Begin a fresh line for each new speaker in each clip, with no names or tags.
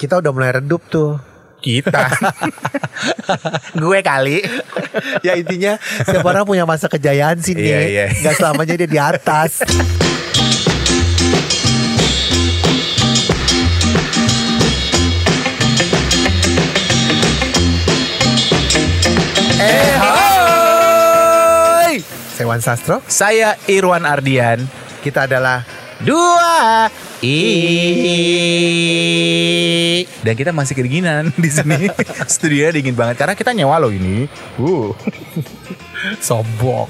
kita udah mulai redup tuh
Kita.
gue kali ya intinya setiap orang punya masa kejayaan sih nih
Iya, iya.
nggak selamanya dia di atas
eh, hoi.
Sewan Sastro
Saya Irwan Ardian.
kita adalah
Dua i dan kita masih kedinginan di sini. Studionya dingin banget karena kita nyewa loh ini. Uh.
sombong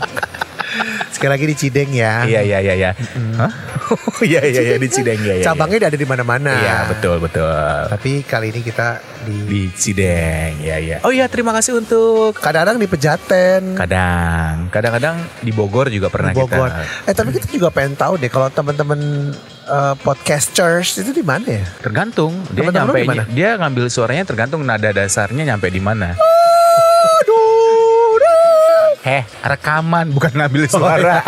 sekali lagi di Cideng ya
Iya iya iya iya. Hah? Iya iya iya di Cideng ya. ya,
cabangnya udah ada di mana-mana
ya. Iya betul betul.
tapi kali ini kita di,
Di Cideng ya ya. Oh iya terima kasih untuk
kadang-kadang di Pejaten
kadang kadang-kadang di Bogor
di
juga pernah
Bogor
kita.
eh tapi kita juga pengen tahu deh kalau teman-teman eh, podcasters itu di mana ya
Tergantung dia
Temen-temen lu
nyampe
di mana?
dia ngambil suaranya tergantung nada dasarnya nyampe di mana. Heh, rekaman bukan ngambil suara.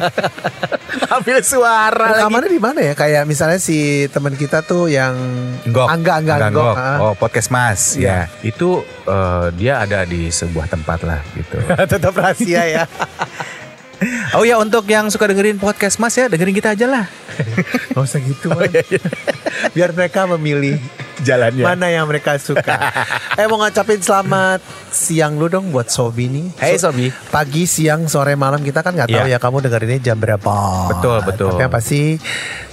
ngambil suara lagi.
rekamannya di mana ya kayak misalnya si teman kita tuh yang
Gok.
angga angga
Enggak,
Anggok,
enggak.
ah.
Oh, podcast Mas ya. Itu eh, dia ada di sebuah tempat lah gitu.
tetap rahasia ya
oh ya untuk yang suka dengerin podcast Mas ya, dengerin kita aja lah.
Gak usah gitu Man. Biar mereka memilih
Jalannya.
Mana yang mereka suka Eh mau ngacapin selamat Siang lu dong buat Sobi nih
Hey
So-
Sobi.
Pagi, siang, sore, malam Kita kan gak tahu
Iya.
ya Kamu dengerinnya jam berapa
Betul, betul.
Tapi yang pasti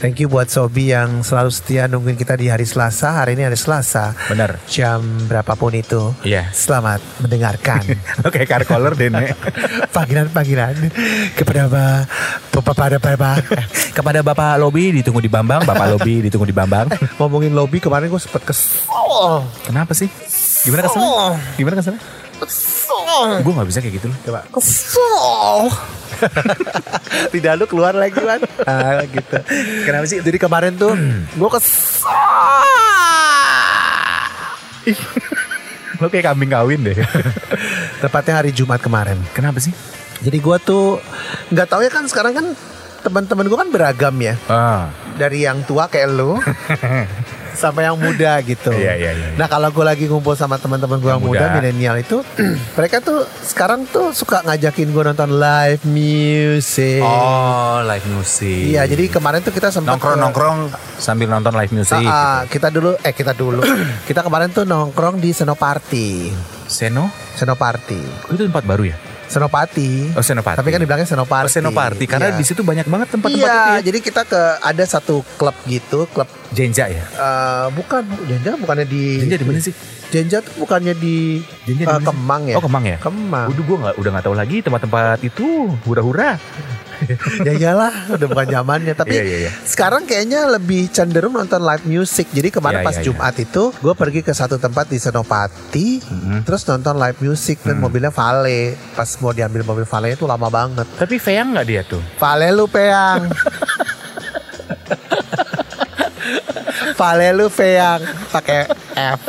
Thank you buat Sobi yang selalu setia Nungguin kita di hari Selasa Hari ini hari Selasa
Bener.
Jam berapapun itu
Iya.
Selamat mendengarkan
Oke, color deh. Nek.
panggilan-panggilan kepada ba- kepada Bapak
Kepada Bapak Lobi ditunggu di Bambang, Bapak Lobi ditunggu di Bambang.
ngomongin lobby kemarin gue sempet kesel
Kenapa sih? Gimana kesannya?
Oh.
Gimana kesannya? Gue gak bisa kayak gitu loh.
coba kesel tidak lu keluar lagi man ah, gitu
Kenapa sih?
jadi kemarin tuh gue kesel
Lo kayak kambing kawin deh.
tepatnya hari Jumat kemarin
Kenapa sih?
jadi gue tuh nggak tahu ya kan sekarang kan teman-teman gue kan beragam ya
Ah,
dari yang tua kayak lu sampai yang muda gitu.
Iya, iya, iya.
Nah kalau gue lagi ngumpul sama teman-teman gue yang,
Yang
muda,
muda.
milenial itu, mereka tuh sekarang tuh suka ngajakin gue nonton live music.
Oh, live
Eh.
music.
Iya, jadi kemarin tuh kita sempat
nongkrong nongkrong sambil nonton live music.
Ah, ah, kita dulu, eh kita dulu, kita kemarin tuh nongkrong di Senoparty,
Seno,
Senoparty,
itu tempat baru ya?
Senopati.
Oh, Senopati.
Tapi kan dibilangnya Senoparty.
Oh, Senoparty karena
Iya.
di situ banyak banget tempat-tempat
Iya,
itu ya.
jadi kita ke ada satu klub gitu, klub
Jenja ya?
eh bukan Jenja bukannya di
Jenja di mana sih?
Jenja tuh bukannya di
Jenja
eh,
di mana sih?
Kemang ya?
Oh, Kemang ya?
Kemang.
Waduh, gue nggak udah nggak tahu lagi tempat-tempat itu hura-hura.
ya iyalah, udah bukan zamannya. Tapi
Iya, iya, iya.
sekarang kayaknya lebih cenderung nonton live music. Jadi kemarin
Iya,
pas
iya, iya.
Jumat itu, gue pergi ke satu tempat di Senopati,
Mm-hmm.
terus nonton live music dan mobilnya Vale. Pas mau diambil mobil Vale itu lama banget.
Tapi Feang nggak dia tuh?
Vale lu peang. vale lu peang pakai F.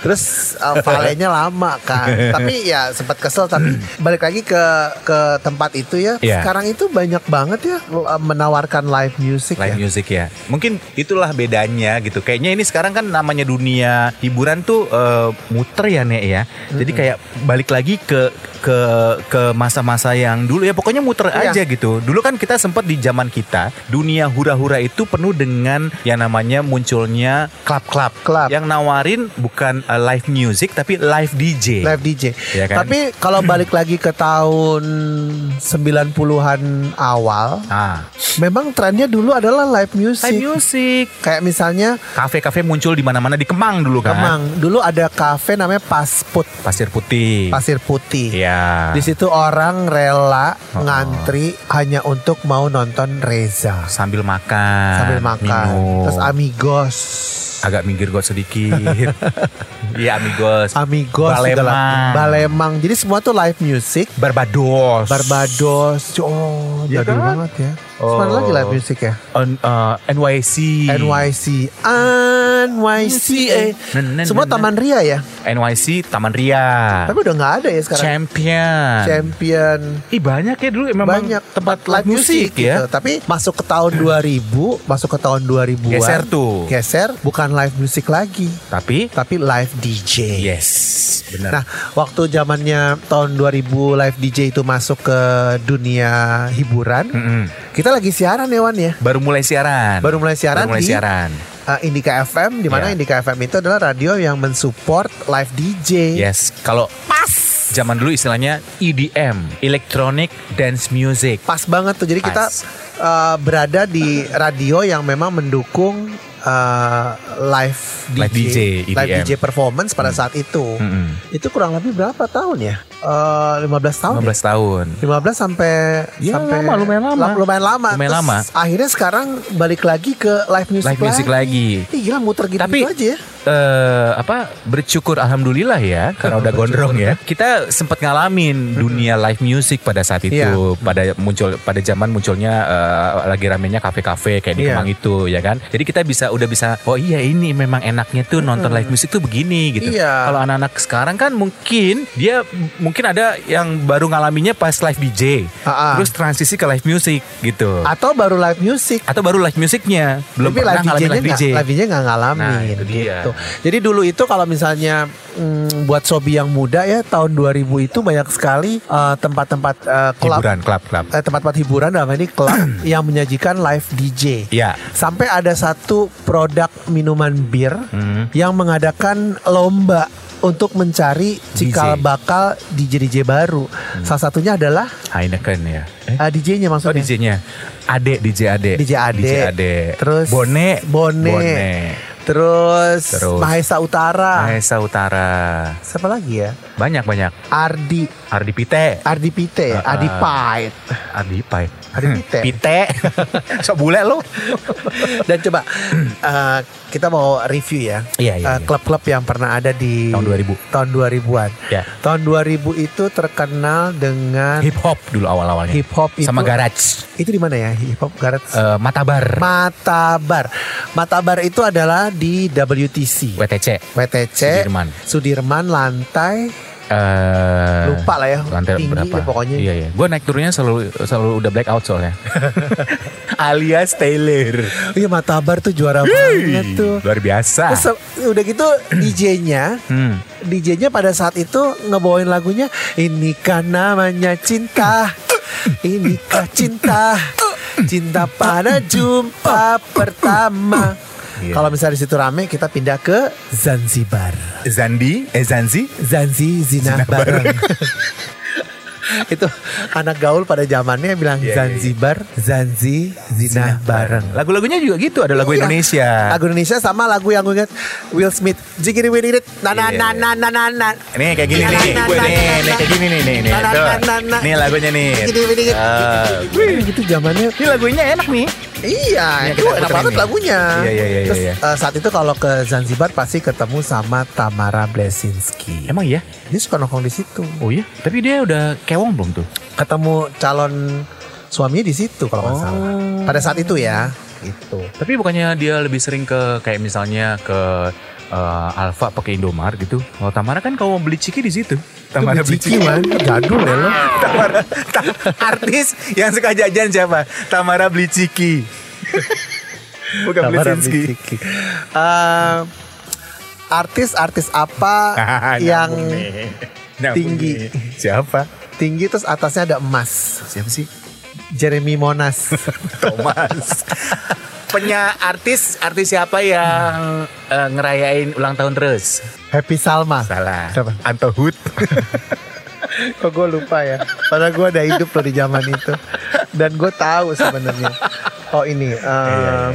Terus uh, valenya lama kan. Tapi ya sempat kesel tapi balik lagi ke ke tempat itu ya.
Iya.
Sekarang itu banyak banget ya uh, menawarkan live music ya.
live music ya. Mungkin itulah bedanya gitu. Kayaknya ini sekarang kan namanya dunia hiburan tuh eh, muter ya Nek ya. Jadi kayak balik lagi ke ke ke masa-masa yang dulu ya pokoknya muter
Iya.
aja gitu. Dulu kan kita sempat di zaman kita dunia hura-hura itu penuh dengan yang namanya munculnya klub-klub
Club.
yang nawarin bukan eh, live music tapi live DJ.
Live DJ.
Iya kan?
Tapi kalau balik lagi ke tahun 90-an awal,
Ah,
memang trennya dulu adalah live music.
live music.
Kayak misalnya
Kafe-kafe muncul di mana-mana di Kemang dulu kan.
Kemang. Dulu ada kafe namanya Pasput,
Pasir Putih.
Pasir Putih.
Iya. Oh.
Di situ orang rela ngantri hanya untuk mau nonton Reza
sambil makan
sambil makan.
Nah, minum.
Terus Amigos.
agak minggir got sedikit iya amigos
Amigos juga lah.
Balemang.
Balemang. Jadi semua tuh live music,
Barbados
Barbados. Oh,
Iya
jadul
kan?
banget ya. Terus mana
Oh. Iya.
lagi live music ya?
N- eh, NYC.
NYC, NYC, eh.
Nen, nen,
semua
nen,
Taman Ria ya.
NYC Taman Ria.
Tapi udah nggak ada ya sekarang.
Champion.
Champion.
Ih banyak ya dulu memang
banyak
tempat live music
gitu.
ya.
Tapi masuk ke tahun 2000, masuk ke tahun 2000-an.
Geser tuh.
Geser bukan live music lagi,
Tapi
tapi live DJ.
yes, benar.
Nah, waktu zamannya tahun 2000 live DJ itu masuk ke dunia hiburan,
Mm-mm.
kita lagi siaran ya Wan ya.
Baru mulai siaran.
Baru mulai siaran
Baru mulai
di
siaran.
uh, Indika FM di mana
Ya.
Indika FM itu adalah radio yang mensupport live DJ.
Yes, kalau
Pas.
zaman dulu istilahnya EDM, Electronic Dance Music.
Pas banget tuh. Jadi
Pas.
kita uh, berada di radio yang memang mendukung uh, live DJ,
Live E DJ,
live
EDM.
DJ performance pada
Hmm.
saat itu.
Mm-mm.
Itu kurang lebih berapa tahun ya? Uh, 15 tahun.
15
ya?
tahun.
15 sampai
Ya,
sampai
lama, lumayan lama.
lam- lumayan lama.
Lumayan
Terus
lama.
Akhirnya sekarang balik lagi ke live music
Live music lagi.
Ih, gila muter gitu
Tapi-
aja ya.
eh apa bersyukur alhamdulillah ya karena udah gondrong ya. Kita sempat ngalamin dunia live music pada saat itu,
Iya.
pada muncul pada zaman munculnya eh, lagi ramenya kafe-kafe kayak di
Iya.
Kemang itu ya kan. Jadi kita bisa udah bisa oh iya ini memang enaknya tuh nonton live music tuh begini gitu.
Iya.
Kalau anak-anak sekarang kan mungkin dia mungkin ada yang baru ngalaminya pas live DJ.
Ah, ah.
Terus transisi ke live music gitu.
Atau baru live music.
Atau baru live musicnya belum
Tapi
pernah
live DJ-nya
ngalamin live
nggak-
DJ.
live DJ nggak ngalamin
Nah, itu dia.
gitu. Jadi dulu itu kalau misalnya mm, buat sobi yang muda ya tahun 2000 itu banyak sekali eh, tempat-tempat eh, klub
Hiburan, klub, klub.
eh, tempat-tempat hiburan dalam hal ini klub yang menyajikan live DJ.
Iya.
Sampai ada satu produk minuman bir
Hmm.
yang mengadakan lomba untuk mencari cikal
DJ.
bakal DJ DJ baru.
Hmm.
Salah satunya adalah
Heineken ya. Eh?
eh, DJ-nya
Oh
maksudnya.
DJ-nya. Ade DJ Ade.
DJ Ade.
DJ Ade.
Terus
Bone
Bone.
Bone.
Terus,
Terus.
Mahesa Utara.
Mahesa Utara.
Siapa lagi ya?
Banyak banyak.
Ardi
Ardi Pite.
Ardi Pite, ya?
Ah,
Ardi
ah.
Pait,
Ardi Pite.
Ardi Pite.
Pite. Sok bule lo.
Dan coba eh, kita mau review ya.
Iya, iya,
Eh,
iya.
Klub-klub yang pernah ada di
Tahun 2000.
Tahun 2000-an.
Ya.
Tahun 2000 itu terkenal dengan
Hip hop dulu awal awalnya.
hip hop itu.
Sama garage.
Itu di mana ya? Hip hop Garage.
Eh, Matabar.
Matabar. Matabar itu adalah di WTC.
WTC.
WTC
Sudirman.
Sudirman lantai
Eh,
lupa lah ya
Lantai
tinggi
berapa?
deh pokoknya
Iya iya. Gue naik turunnya selalu selalu udah black out soalnya. Alias Taylor.
Iya Matabar tuh juara banget tuh.
Luar biasa.
Terus se- udah gitu DJ-nya
Hmm.
DJ-nya pada saat itu ngebawain lagunya ini kan namanya cinta. Inikah cinta? Cinta pada jumpa pertama.
Iya.
Kalau misalnya di situ rame kita pindah ke Zanzibar.
Zandi, eh Zanzi,
Zanzi Zina, bareng. itu anak gaul pada zamannya bilang
Iya, iya, iya.
Zanzibar, Zanzi Zina, bareng.
Lagu-lagunya juga gitu, ada lagu
Iya.
Indonesia.
Lagu Indonesia sama lagu yang gue inget Will Smith. Jigiri widirit na
Iya,
na na na na na na.
Nih kayak gini nih,
Nah, nah,
nih,
nah,
nih,
nah,
nih,
nah.
kayak gini nih, nih, nih,
Nah, nah,
tuh.
nah, nah, nah.
Nih lagunya nih.
Gini, gini, gini.
Ah,
Wih, gitu zamannya.
Ini lagunya enak nih.
Iya,
Iya,
itu enak
kita puterin
banget
nih.
lagunya.
Iya, iya, iya,
Terus
iya.
eh, saat itu kalau ke Zanzibar pasti ketemu sama Tamara Blesinski.
Emang iya?
Dia suka nongkrong di situ.
Oh iya? Tapi dia udah kewong belum tuh?
Ketemu calon suaminya di situ kalau nggak
Oh.
salah. Pada saat itu ya, gitu.
Tapi bukannya dia lebih sering ke kayak misalnya ke eh, Alfa pakai Indomar gitu. Kalau Tamara kan kalau mau beli ciki di situ. Tamara
Itu beli ciki, Wan. Jadul ya lo.
Tamara, Ta- artis yang suka jajan siapa? Tamara beli ciki. Bukan beli
Tamara
Sinski.
Blesinski. Eh, Artis-artis apa
Ah,
yang
nyambung nih. Nyambung
tinggi.
nih. Siapa?
tinggi terus atasnya ada emas?
Siapa sih?
Jeremy Monas.
Thomas. Penya artis artis siapa yang eh, ngerayain ulang tahun terus?
Happy Salma.
Salah.
Siapa?
Anto Hood.
Kok gue lupa ya? Padahal gue ada hidup loh di zaman itu. Dan gue tahu sebenarnya. Oh ini
Iya,
eh,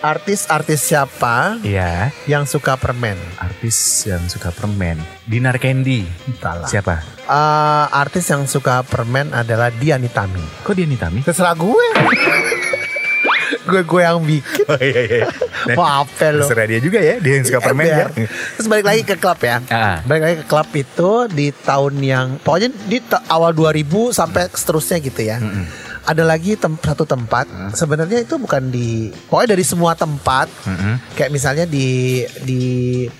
artis-artis siapa
Iya,
yang suka permen?
artis yang suka permen. Dinar Candy.
Salah.
Siapa?
Eh, artis yang suka permen adalah Dian Nitami.
Kok dia Nitami?
Terserah gue. gue gue yang bikin.
Oh iya iya.
Wah, apa lo?
Terserah dia juga ya, dia yang suka permen
Ember.
ya.
Terus balik lagi ke klub ya.
Ah.
Balik lagi ke klub itu di tahun yang pokoknya di ta- awal 2000 sampai seterusnya gitu ya. ada lagi tem- satu tempat sebenarnya itu bukan di pokoknya dari semua tempat
Mm-mm.
kayak misalnya di di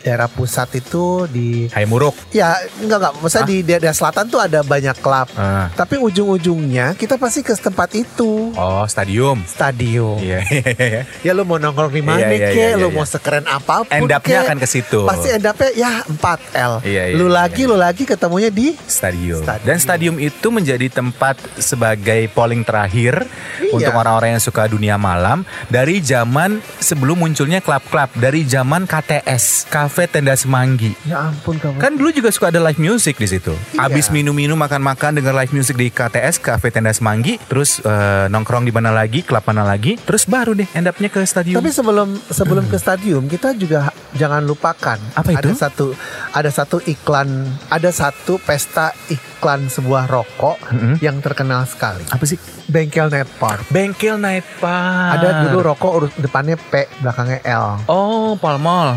daerah pusat itu di
Hai Muruk.
ya enggak enggak maksudnya di daerah selatan tuh ada banyak klub
Ah.
tapi ujung-ujungnya kita pasti ke tempat itu
Oh, stadium.
stadion
Iya, iya, iya.
ya lu mau nongkrong di mana
Iya, iya,
kek
iya,
lu
iya.
mau sekeren apapun
End up-nya
kek.
akan ke situ.
pasti end up-nya ya 4L
Iya, iya,
lu
iya,
lagi
iya.
lu lagi ketemunya di
Stadium.
Stadium.
Dan stadium itu menjadi tempat sebagai polling terakhir
Iya.
untuk orang-orang yang suka dunia malam dari zaman sebelum munculnya klub-klub, dari zaman KTS, Cafe Tenda Semanggi.
ya ampun kamu
Kan dulu juga suka ada live music di situ.
Iya.
Abis minum-minum, makan-makan, denger live music di KTS, Cafe Tenda Semanggi, terus eh, nongkrong di mana lagi, klub mana lagi, terus baru deh end up-nya ke stadium.
Tapi sebelum sebelum ke stadium kita juga ha- jangan lupakan
Apa itu?
ada satu ada satu iklan ada satu pesta iklan sebuah rokok
Mm-mm.
yang terkenal sekali
apa sih?
bengkel net park
Bengkel Night Park.
ada dulu rokok urut depannya P belakangnya L
Oh, Palmol.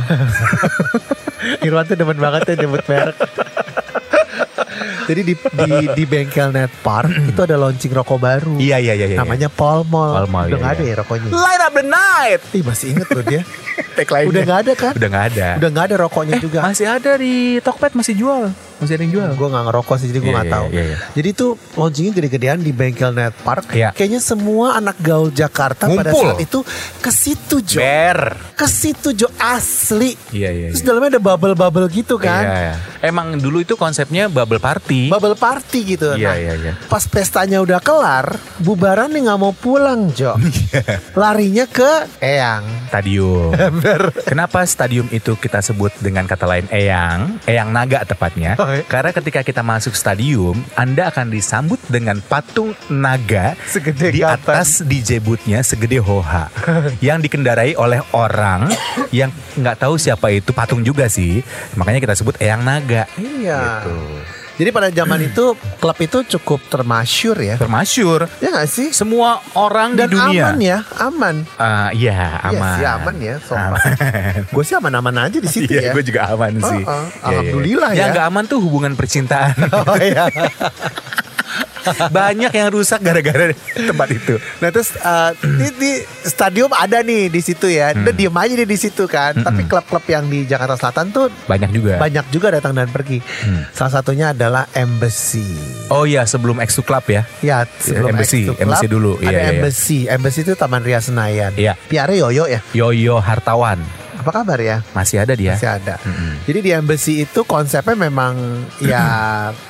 Irwan tuh demen banget ya nyebut merek jadi di, di di bengkel net park itu ada launching rokok baru
Iya, iya, iya. iya.
namanya Pall Mall
Pall Mall,
udah
iya,
nggak ada
iya.
ya rokoknya
Light Up the Night.
Ih, masih inget loh dia
Tagline
udah nggak ada kan
Udah nggak ada.
udah nggak ada rokoknya juga
Masih ada di Tokped masih jual. Masih ada yang jual.
Gue gak ngerokok sih jadi gue
Hmm. Iya,
gak
iya,
tahu.
iya, iya.
Jadi itu launchingnya gede-gedean di bengkel Net Park.
Iya.
Kayaknya semua anak gaul Jakarta pada
Ngumpul.
saat itu ke situ Jo.
Ber.
Ke situ Jo asli.
Iya, iya,
Terus
iya.
dalamnya ada bubble-bubble gitu kan.
Iya, iya. Emang dulu itu konsepnya bubble party.
Bubble party gitu.
Iya,
Nah,
iya, iya.
Pas pestanya udah kelar, bubaran nih nggak mau pulang Jo.
Iya.
Larinya ke Eyang.
Stadium. Kenapa stadium itu kita sebut dengan kata lain eyang, eyang naga tepatnya?
Oke.
Karena ketika kita masuk stadium, Anda akan disambut dengan patung naga
Segede
di
gaban.
atas DJ bootnya segede hoha yang dikendarai oleh orang yang nggak tahu siapa itu patung juga sih. Makanya kita sebut eyang naga.
Iya.
Gitu.
Jadi pada zaman itu klub itu cukup termasyur ya.
Termasyur.
Ya gak sih?
Semua orang
Dan
di dunia.
aman ya, aman.
Eh, iya, aman.
Iya sih aman ya Gue sih aman-aman aja di situ
Iya,
ya.
gue juga aman
Oh,
sih.
oh,
Iya, iya.
alhamdulillah
Yang
ya.
nggak aman tuh hubungan percintaan.
Oh, iya.
Banyak yang rusak gara-gara tempat itu.
Nah terus eh, di, di stadium ada nih di situ ya.
Hmm.
Dia diem aja dia di situ kan. Tapi klub-klub yang di Jakarta Selatan tuh
Banyak juga.
banyak juga datang dan pergi.
Hmm.
Salah satunya adalah Embassy.
Oh iya, sebelum X2 Club ya.
Ya sebelum X2
Embassy,
Club,
Embassy dulu,
Ada
iya, iya, iya.
Embassy. Embassy itu Taman Ria Senayan.
Iya.
Piare Yoyo ya.
Yoyo Hartawan
Apa kabar ya?
masih ada dia.
Masih ada. Jadi di Embassy itu konsepnya memang ya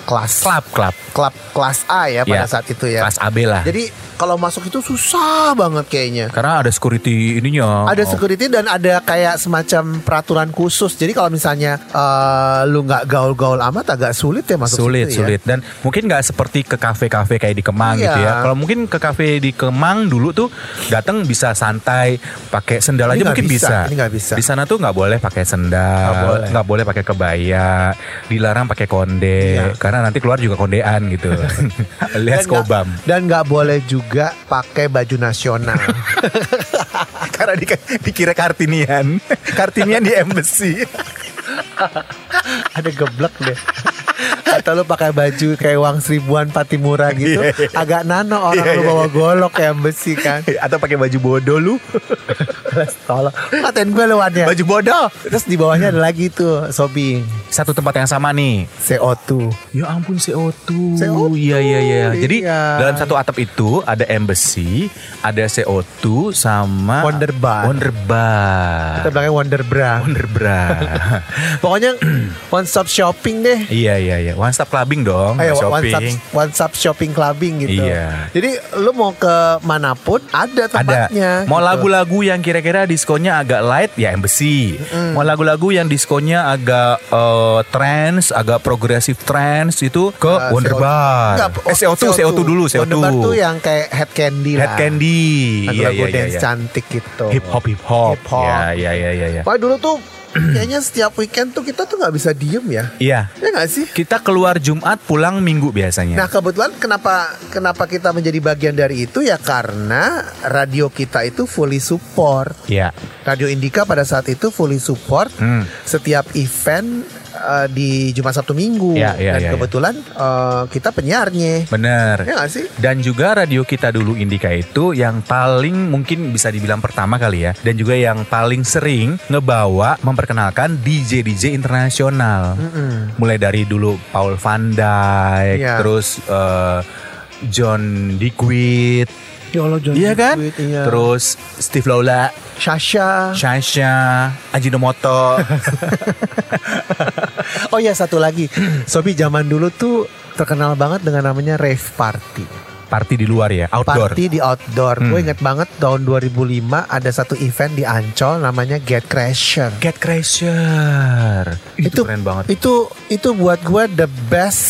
kelas
Club Club
klub kelas A ya pada
Iya.
saat itu ya.
kelas AB lah.
Jadi kalau masuk itu susah banget kayaknya.
Karena ada security ininya.
Ada
Oh.
security dan ada kayak semacam peraturan khusus. Jadi kalau misalnya eh, lu nggak gaul-gaul amat agak sulit ya masuk
sulit
situ ya.
sulit dan mungkin nggak seperti ke kafe-kafe kayak di Kemang
Iya.
gitu ya kalau mungkin ke kafe di Kemang dulu tuh datang bisa santai pakai sendal
Ini
aja
nggak
mungkin
bisa,
bisa,
ini nggak bisa.
di sana tuh nggak boleh pakai
Nggak boleh.
sendal nggak boleh pakai kebaya dilarang pakai konde
Iya.
karena nanti keluar juga kondean gitu
Dan
alias
nggak-
kobam
Dan nggak boleh juga pakai baju nasional.
karena di- dikira kartinian kartinian di embassy
ada geblek deh. Atau lu pakai baju kayak Wang Seribuan Patimura gitu,
Iya,
agak nano orang lu bawa golok ya besi kan.
atau pakai baju bodoh lu
Tolong, katain gue luannya.
baju bodoh
Terus di bawahnya ada lagi tuh sobing
satu tempat yang sama nih
CO2.
Ya ampun CO2.
CO2,
Iya iya iya. Jadi
iya.
dalam satu atap itu ada embassy, ada CO2 sama
Wonder Bar.
Wonder Bar.
Kita bilangnya Wonder Bra.
Wonder Bra.
Pokoknya one stop shopping deh.
iya iya iya. One stop clubbing dong,
Ayo one stop
shopping.
one stop shopping clubbing gitu.
Iya.
Jadi lu mau ke manapun ada
Ada.
tempatnya.
Mau
gitu.
lagu-lagu yang kira-kira diskonnya agak light ya embassy. Mau lagu-lagu yang diskonnya agak eh, trance, agak progresif trance itu ke
Eh,
Wonder
CO2.
Bar.
Enggak,
eh CO2, CO2, dulu, CO2.
Wonder Bar tuh yang kayak head candy
Head
lah.
Candy.
Lagu,
Iya, iya, iya,
dance
iya.
cantik gitu.
hip hop hip hop.
Hip hop.
Iya iya iya iya.
Wah dulu tuh kayaknya setiap weekend tuh kita tuh nggak bisa diem ya.
Iya.
Ya nggak sih?
Kita keluar Jumat pulang Minggu biasanya.
Nah kebetulan kenapa kenapa kita menjadi bagian dari itu ya karena radio kita itu fully support
Iya.
Radio Indika pada saat itu fully support
Hmm.
setiap event eh, di Jumat Sabtu Minggu
Iya, iya,
dan
iya,
kebetulan eh, kita penyiarnya.
Bener.
Ya nggak sih?
Dan juga radio kita dulu Indika itu yang paling mungkin bisa dibilang pertama kali ya dan juga yang paling sering ngebawa memperkenalkan DJ DJ internasional.
Mm-mm.
Mulai dari dulu Paul Van Dyk,
Iya.
terus eh, John Dickwit,
Ya Allah, John
iya kan?
Lithgow, iya.
Terus Steve Lola,
Sasha.
Sasha, Ajinomoto.
Oh ya satu lagi, Sobi zaman dulu tuh terkenal banget dengan namanya rave party.
Party di luar ya, outdoor.
Party di outdoor.
Hmm.
Gue inget banget tahun 2005 ada satu event di Ancol namanya Get Crasher.
Get Crasher. Itu,
Itu-
keren banget.
Itu itu buat gue the best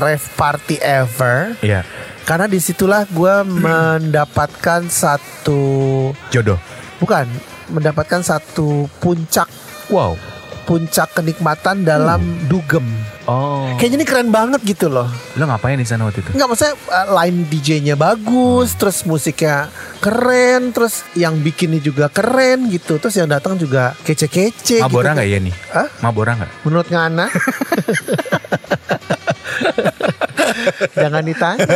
rave party ever
Iya,
karena disitulah gue mendapatkan satu
jodoh.
bukan mendapatkan satu puncak
Wow.
puncak kenikmatan dalam dugem.
Oh.
Kayaknya ini keren banget gitu loh.
Lo ngapain di sana waktu itu?
Enggak maksudnya uh, line DJ-nya bagus, terus musiknya keren, terus yang bikinnya juga keren gitu. Terus yang datang juga kece-kece
Mabora nggak
gitu.
ya nih?
Hah?
Mabora nggak?
Menurut Ngana. Jangan ditanya.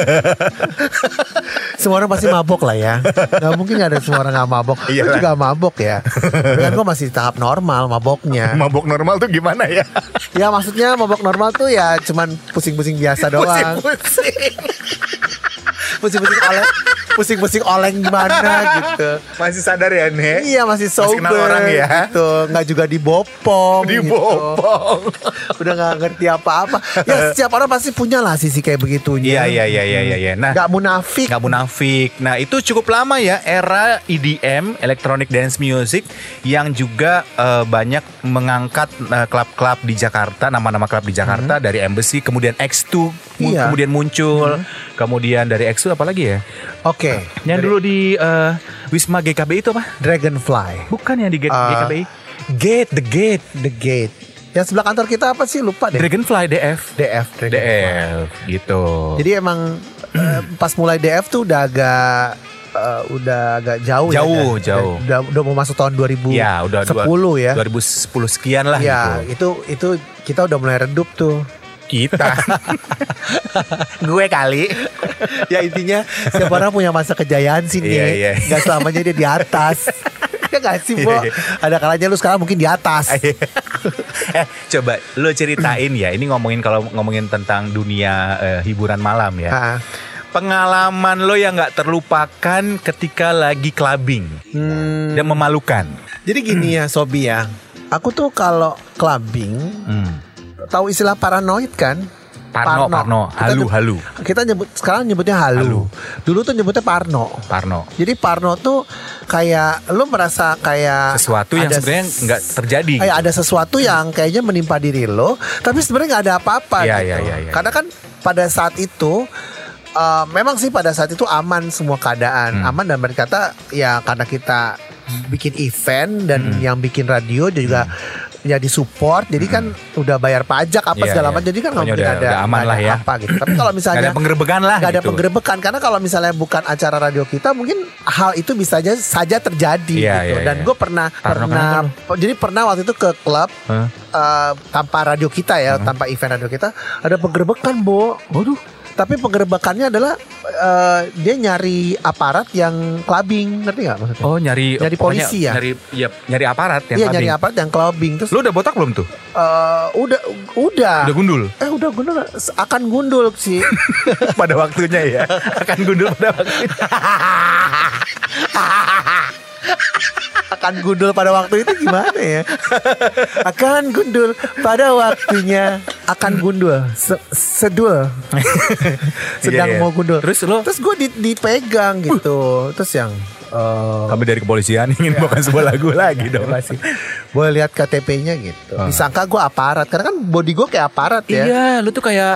semua orang pasti mabok lah ya. Gak mungkin gak ada semua orang gak mabok. Lu
Iyalah.
juga mabok ya. Kan gua masih tahap normal maboknya.
Mabok normal tuh gimana ya?
Ya maksudnya mabok normal tuh ya cuman pusing-pusing biasa doang.
Pusing-pusing.
Pusing-pusing oleng, pusing-pusing oleng gimana gitu.
Masih sadar ya nih?
Iya masih sober
kenal orang ya?
gitu. Nggak juga dibopong gitu.
Dibopong.
Udah nggak ngerti apa-apa Ya setiap orang pasti punya lah sisi kayak begitunya
Iya iya iya iya iya. iya. Nah,
Nggak munafik
nggak munafik. Nah itu cukup lama ya era EDM (Electronic Dance Music) yang juga eh, banyak mengangkat eh, klub-klub di Jakarta, nama-nama klub di Jakarta dari Embassy, kemudian X2, mu-
Hmm. Iya.
kemudian muncul, kemudian dari X2 apalagi ya?
Oke
Yang dulu di eh, Wisma GKB itu apa?
Dragonfly
Bukan yang di G-
Eh,
GKBI.
Gate The Gate The Gate Yang sebelah kantor kita apa sih lupa deh
Dragonfly DF.
DF Dragonfly.
DF gitu.
Jadi emang eh, pas mulai DF tuh udah agak eh, udah agak jauh ya,
Jauh,
Dan-
jauh.
dan Udah, udah mau masuk tahun 2010
ya udah dua-
ya
2010 sekian lah
Ya
gitu.
itu itu kita udah mulai redup tuh
Kita. Gue kali.
ya intinya setiap orang punya masa kejayaan sih nih
Iya, iya.
nggak selamanya dia di atas ya nggak sih Bo
Iya, iya.
ada kalanya lu sekarang mungkin di atas
eh, coba lu ceritain ya. Ini ngomongin kalau ngomongin tentang dunia eh, hiburan malam
Ah.
ya. Pengalaman lo yang nggak terlupakan ketika lagi clubbing
Hmm,
dan memalukan.
jadi gini ya Sobi ya aku tuh kalau clubbing
Hmm.
tahu istilah paranoid kan
Parno, Parno,
Kita
halu,
nyebut-
halu,
kita nyebut sekarang nyebutnya halu. dulu tuh nyebutnya parno
Parno.
jadi parno tuh kayak lu merasa kayak
Sesuatu
Ah,
yang
ada
sebenarnya
s-
nggak terjadi.
Kayak ada sesuatu yang kayaknya menimpa diri lo, tapi sebenarnya nggak ada apa-apa
Iya,
gitu.
iya, iya, iya.
Karena kan pada saat itu eh, memang sih pada saat itu aman semua keadaan,
Hmm.
aman dan berkata ya karena kita bikin event dan
Hmm.
yang bikin radio juga jadi support, jadi kan udah bayar pajak apa
Iya,
segala
iya.
macam, jadi kan nggak
Pokoknya
mungkin
udah-
ada,
udah aman
nggak
lah
ada
ya.
apa gitu. Tapi kalau
Nggak
misalnya
ada penggerbekan lah
nggak ada
gitu.
penggerebekan karena kalau misalnya bukan acara radio kita mungkin hal itu bisa aja saja terjadi
Iya,
gitu
iya,
dan
iya.
gue pernah
Parno
pernah jadi pernah waktu itu ke klub
Hah?
eh, tanpa radio kita ya tanpa event radio kita ada penggerebekan bo
Waduh.
tapi penggerebekannya adalah eh, dia nyari aparat yang clubbing ngerti nggak maksudnya
Oh nyari
Nyari
pokoknya
polisi ya?
Nyari ya, nyari aparat yang
Iya
clubbing.
nyari aparat yang clubbing terus
Lu udah botak belum tuh?
eh, udah udah
Udah gundul
eh udah gundul akan gundul sih
pada waktunya ya. Akan gundul pada waktunya.
akan gundul pada waktu itu gimana ya? Akan gundul pada waktunya akan gundul Se- sedul sedang
Iya, iya.
mau gundul.
Terus lo
Terus gue di- dipegang gitu. Terus yang eh,
kami dari kepolisian
Iya.
ingin bawakan sebuah lagu lagi dong.
apa sih? Boleh lihat KTP-nya gitu. Disangka gue aparat karena kan body gue kayak aparat ya.
Ah. Iya, lu tuh kayak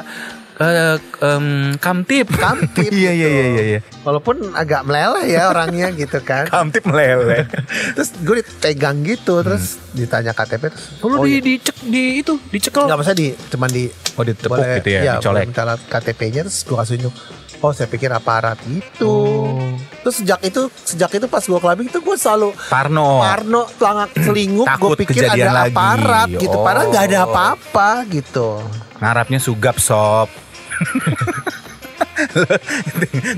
eh, em, kamtip.
Kamtip
iya, iya,
gitu.
iya, iya, iya.
Walaupun agak meleleh ya orangnya gitu kan.
Kamtip meleleh.
Terus gue dipegang gitu terus ditanya KTP terus
Lu
oh,
Hmm. di
iya.
dicek di itu, dicekel.
nggak maksudnya di cuman di
Oh, ditepuk
boleh-
gitu ya,
iya, boleh
dicolek.
minta KTP-nya terus gue kasih unjuk Oh saya pikir aparat itu.
Oh.
Terus sejak itu sejak itu pas gue clubbing itu gue selalu
Parno.
Parno telangak selingkup gue
Oh. Takut
pikir
kejadian
ada
lagi.
aparat gitu. Padahal nggak ada
Oh.
apa-apa gitu.
Ngarapnya sugap sob.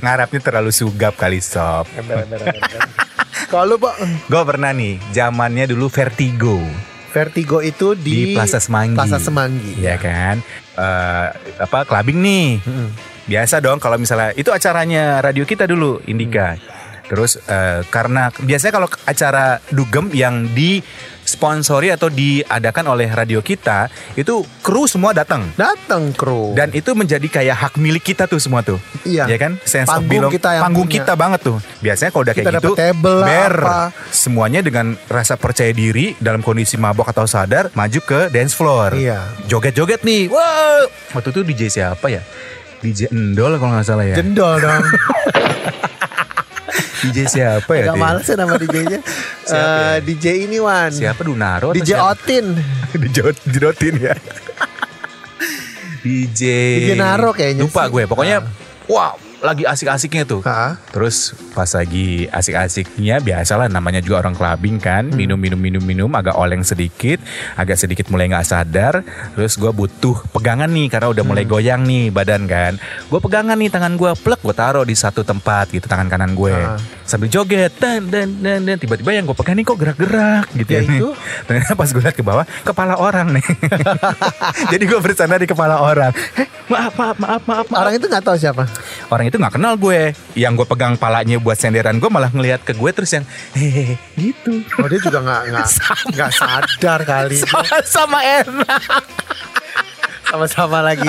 Ngarapnya terlalu sugap kali sob.
Kalau lu, Pak, eh,
Gue pernah nih, zamannya dulu vertigo
Vertigo itu
di,
di,
Plaza Semanggi.
Plaza Semanggi.
Iya kan? Eh, apa clubbing nih?
Ya. Mm-mm.
Biasa dong kalau misalnya itu acaranya radio kita dulu Indika. Terus eh, karena biasanya kalau acara dugem yang disponsori atau diadakan oleh radio kita itu kru semua datang.
Datang kru.
Dan itu menjadi kayak hak milik kita tuh semua tuh.
iya.
Ya kan? Sense of
Panggung
belong-
kita yang
panggung
punya.
kita banget tuh. Biasanya kalau udah
Kita
kayak
dapat
gitu
table lah,
ber
apa.
semuanya dengan rasa percaya diri dalam kondisi mabok atau sadar maju ke dance floor.
Iya.
Joget-joget nih. Wow. Waktu itu DJ siapa ya? DJ Endol kalau nggak salah ya.
Jendol dong.
DJ siapa ya?
Gak
dia?
males ya nama DJ-nya.
Siapa ya?
Eh, DJ ini Wan.
Siapa Dunaro atau
DJ
siapa?
Otin.
Dijot, dijotin ya. DJ
DJ Naro kayaknya sih.
Lupa
Ah.
gue. Pokoknya wah, lagi asik-asiknya tuh.
Ha?
Terus pas lagi asik-asiknya biasalah namanya juga orang clubbing kan
Hmm.
minum minum minum minum agak oleng sedikit agak sedikit mulai nggak sadar terus gue butuh pegangan nih karena udah mulai
Hmm.
goyang nih badan kan gue pegangan nih tangan gue plek gue taruh di satu tempat gitu tangan kanan gue
Ah.
sambil joget dan dan dan dan tiba-tiba yang gue pegang nih kok gerak-gerak gitu
Ya
ya, nih.
itu.
ternyata pas gue liat ke bawah kepala orang nih jadi gue bersandar di kepala orang "Heh, Eh, maaf maaf maaf maaf maaf
Orang itu nggak tahu siapa.
orang itu nggak kenal gue yang gue pegang palanya buat senderan gue malah ngelihat ke gue terus yang hehehe gitu
Oh dia juga nggak nggak nggak sadar kali.
sama sama enak
Sama-sama lagi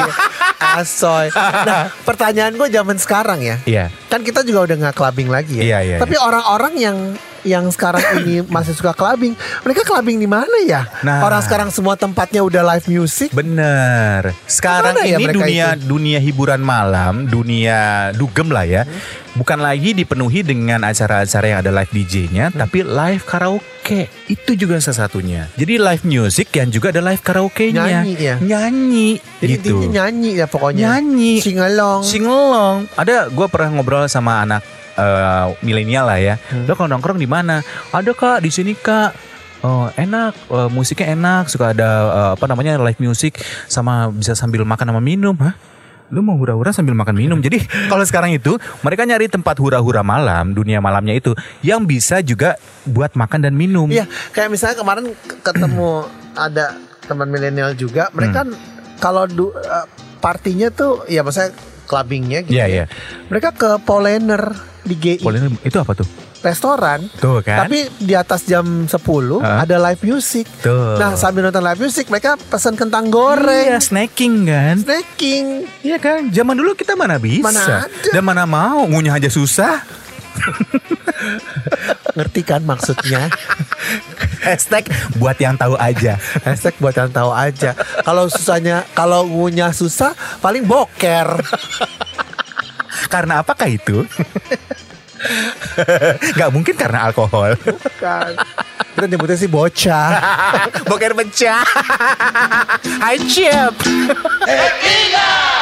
asoy. Nah pertanyaan gue zaman sekarang ya.
iya
Kan kita juga udah nggak clubbing lagi ya.
Iya, iya,
Tapi orang-orang yang yang sekarang ini masih suka clubbing, mereka clubbing di mana ya?
Nah.
Orang sekarang semua tempatnya udah live music.
bener sekarang
Gimana ya
ini
mereka
dunia dunia hiburan malam dunia dugem lah ya bukan lagi dipenuhi dengan acara-acara yang ada live DJ-nya
Hmm.
tapi live karaoke itu juga salah satunya jadi live music yang juga ada live karaoke-nya
Nyanyi ya.
nyanyi
Jadi
gitu
intinya nyanyi ya pokoknya.
nyanyi
Singalong.
Singelong. Ada gue pernah ngobrol sama anak eh, milenial lah ya.
Hmm.
Lo kalau nongkrong di mana? Ada kak di sini kak. Oh enak, Eh, musiknya enak, suka ada eh, apa namanya live music sama bisa sambil makan sama minum, hah? Lu mau hura-hura sambil makan minum. Jadi kalau sekarang itu mereka nyari tempat hura-hura malam, dunia malamnya itu yang bisa juga buat makan dan minum.
Iya, kayak misalnya kemarin ke- ketemu ada teman milenial juga, mereka
Hmm.
kalau du, eh, partinya tuh ya maksudnya clubbingnya gitu.
Iya,
ya.
iya.
Mereka ke Polener di GI
Boleh itu apa tuh?
restoran,
Tuh kan.
tapi di atas jam 10
Hah?
ada live music.
tuh.
Nah, sambil nonton live music mereka pesan kentang goreng,
Iya, snacking kan.
snacking.
Iya kan, zaman dulu kita mana bisa
Mana ada.
dan mana mau ngunyah aja susah.
Ngerti kan maksudnya?
Hashtag buat yang tahu aja.
Hashtag buat yang tahu aja. Kalau susahnya, kalau ngunyah susah, paling boker.
Karena apakah itu? Gak mungkin karena alkohol.
Kan. Kita nyebutnya sih bocah.
Boker pecah. Hai Cip.
Amiga!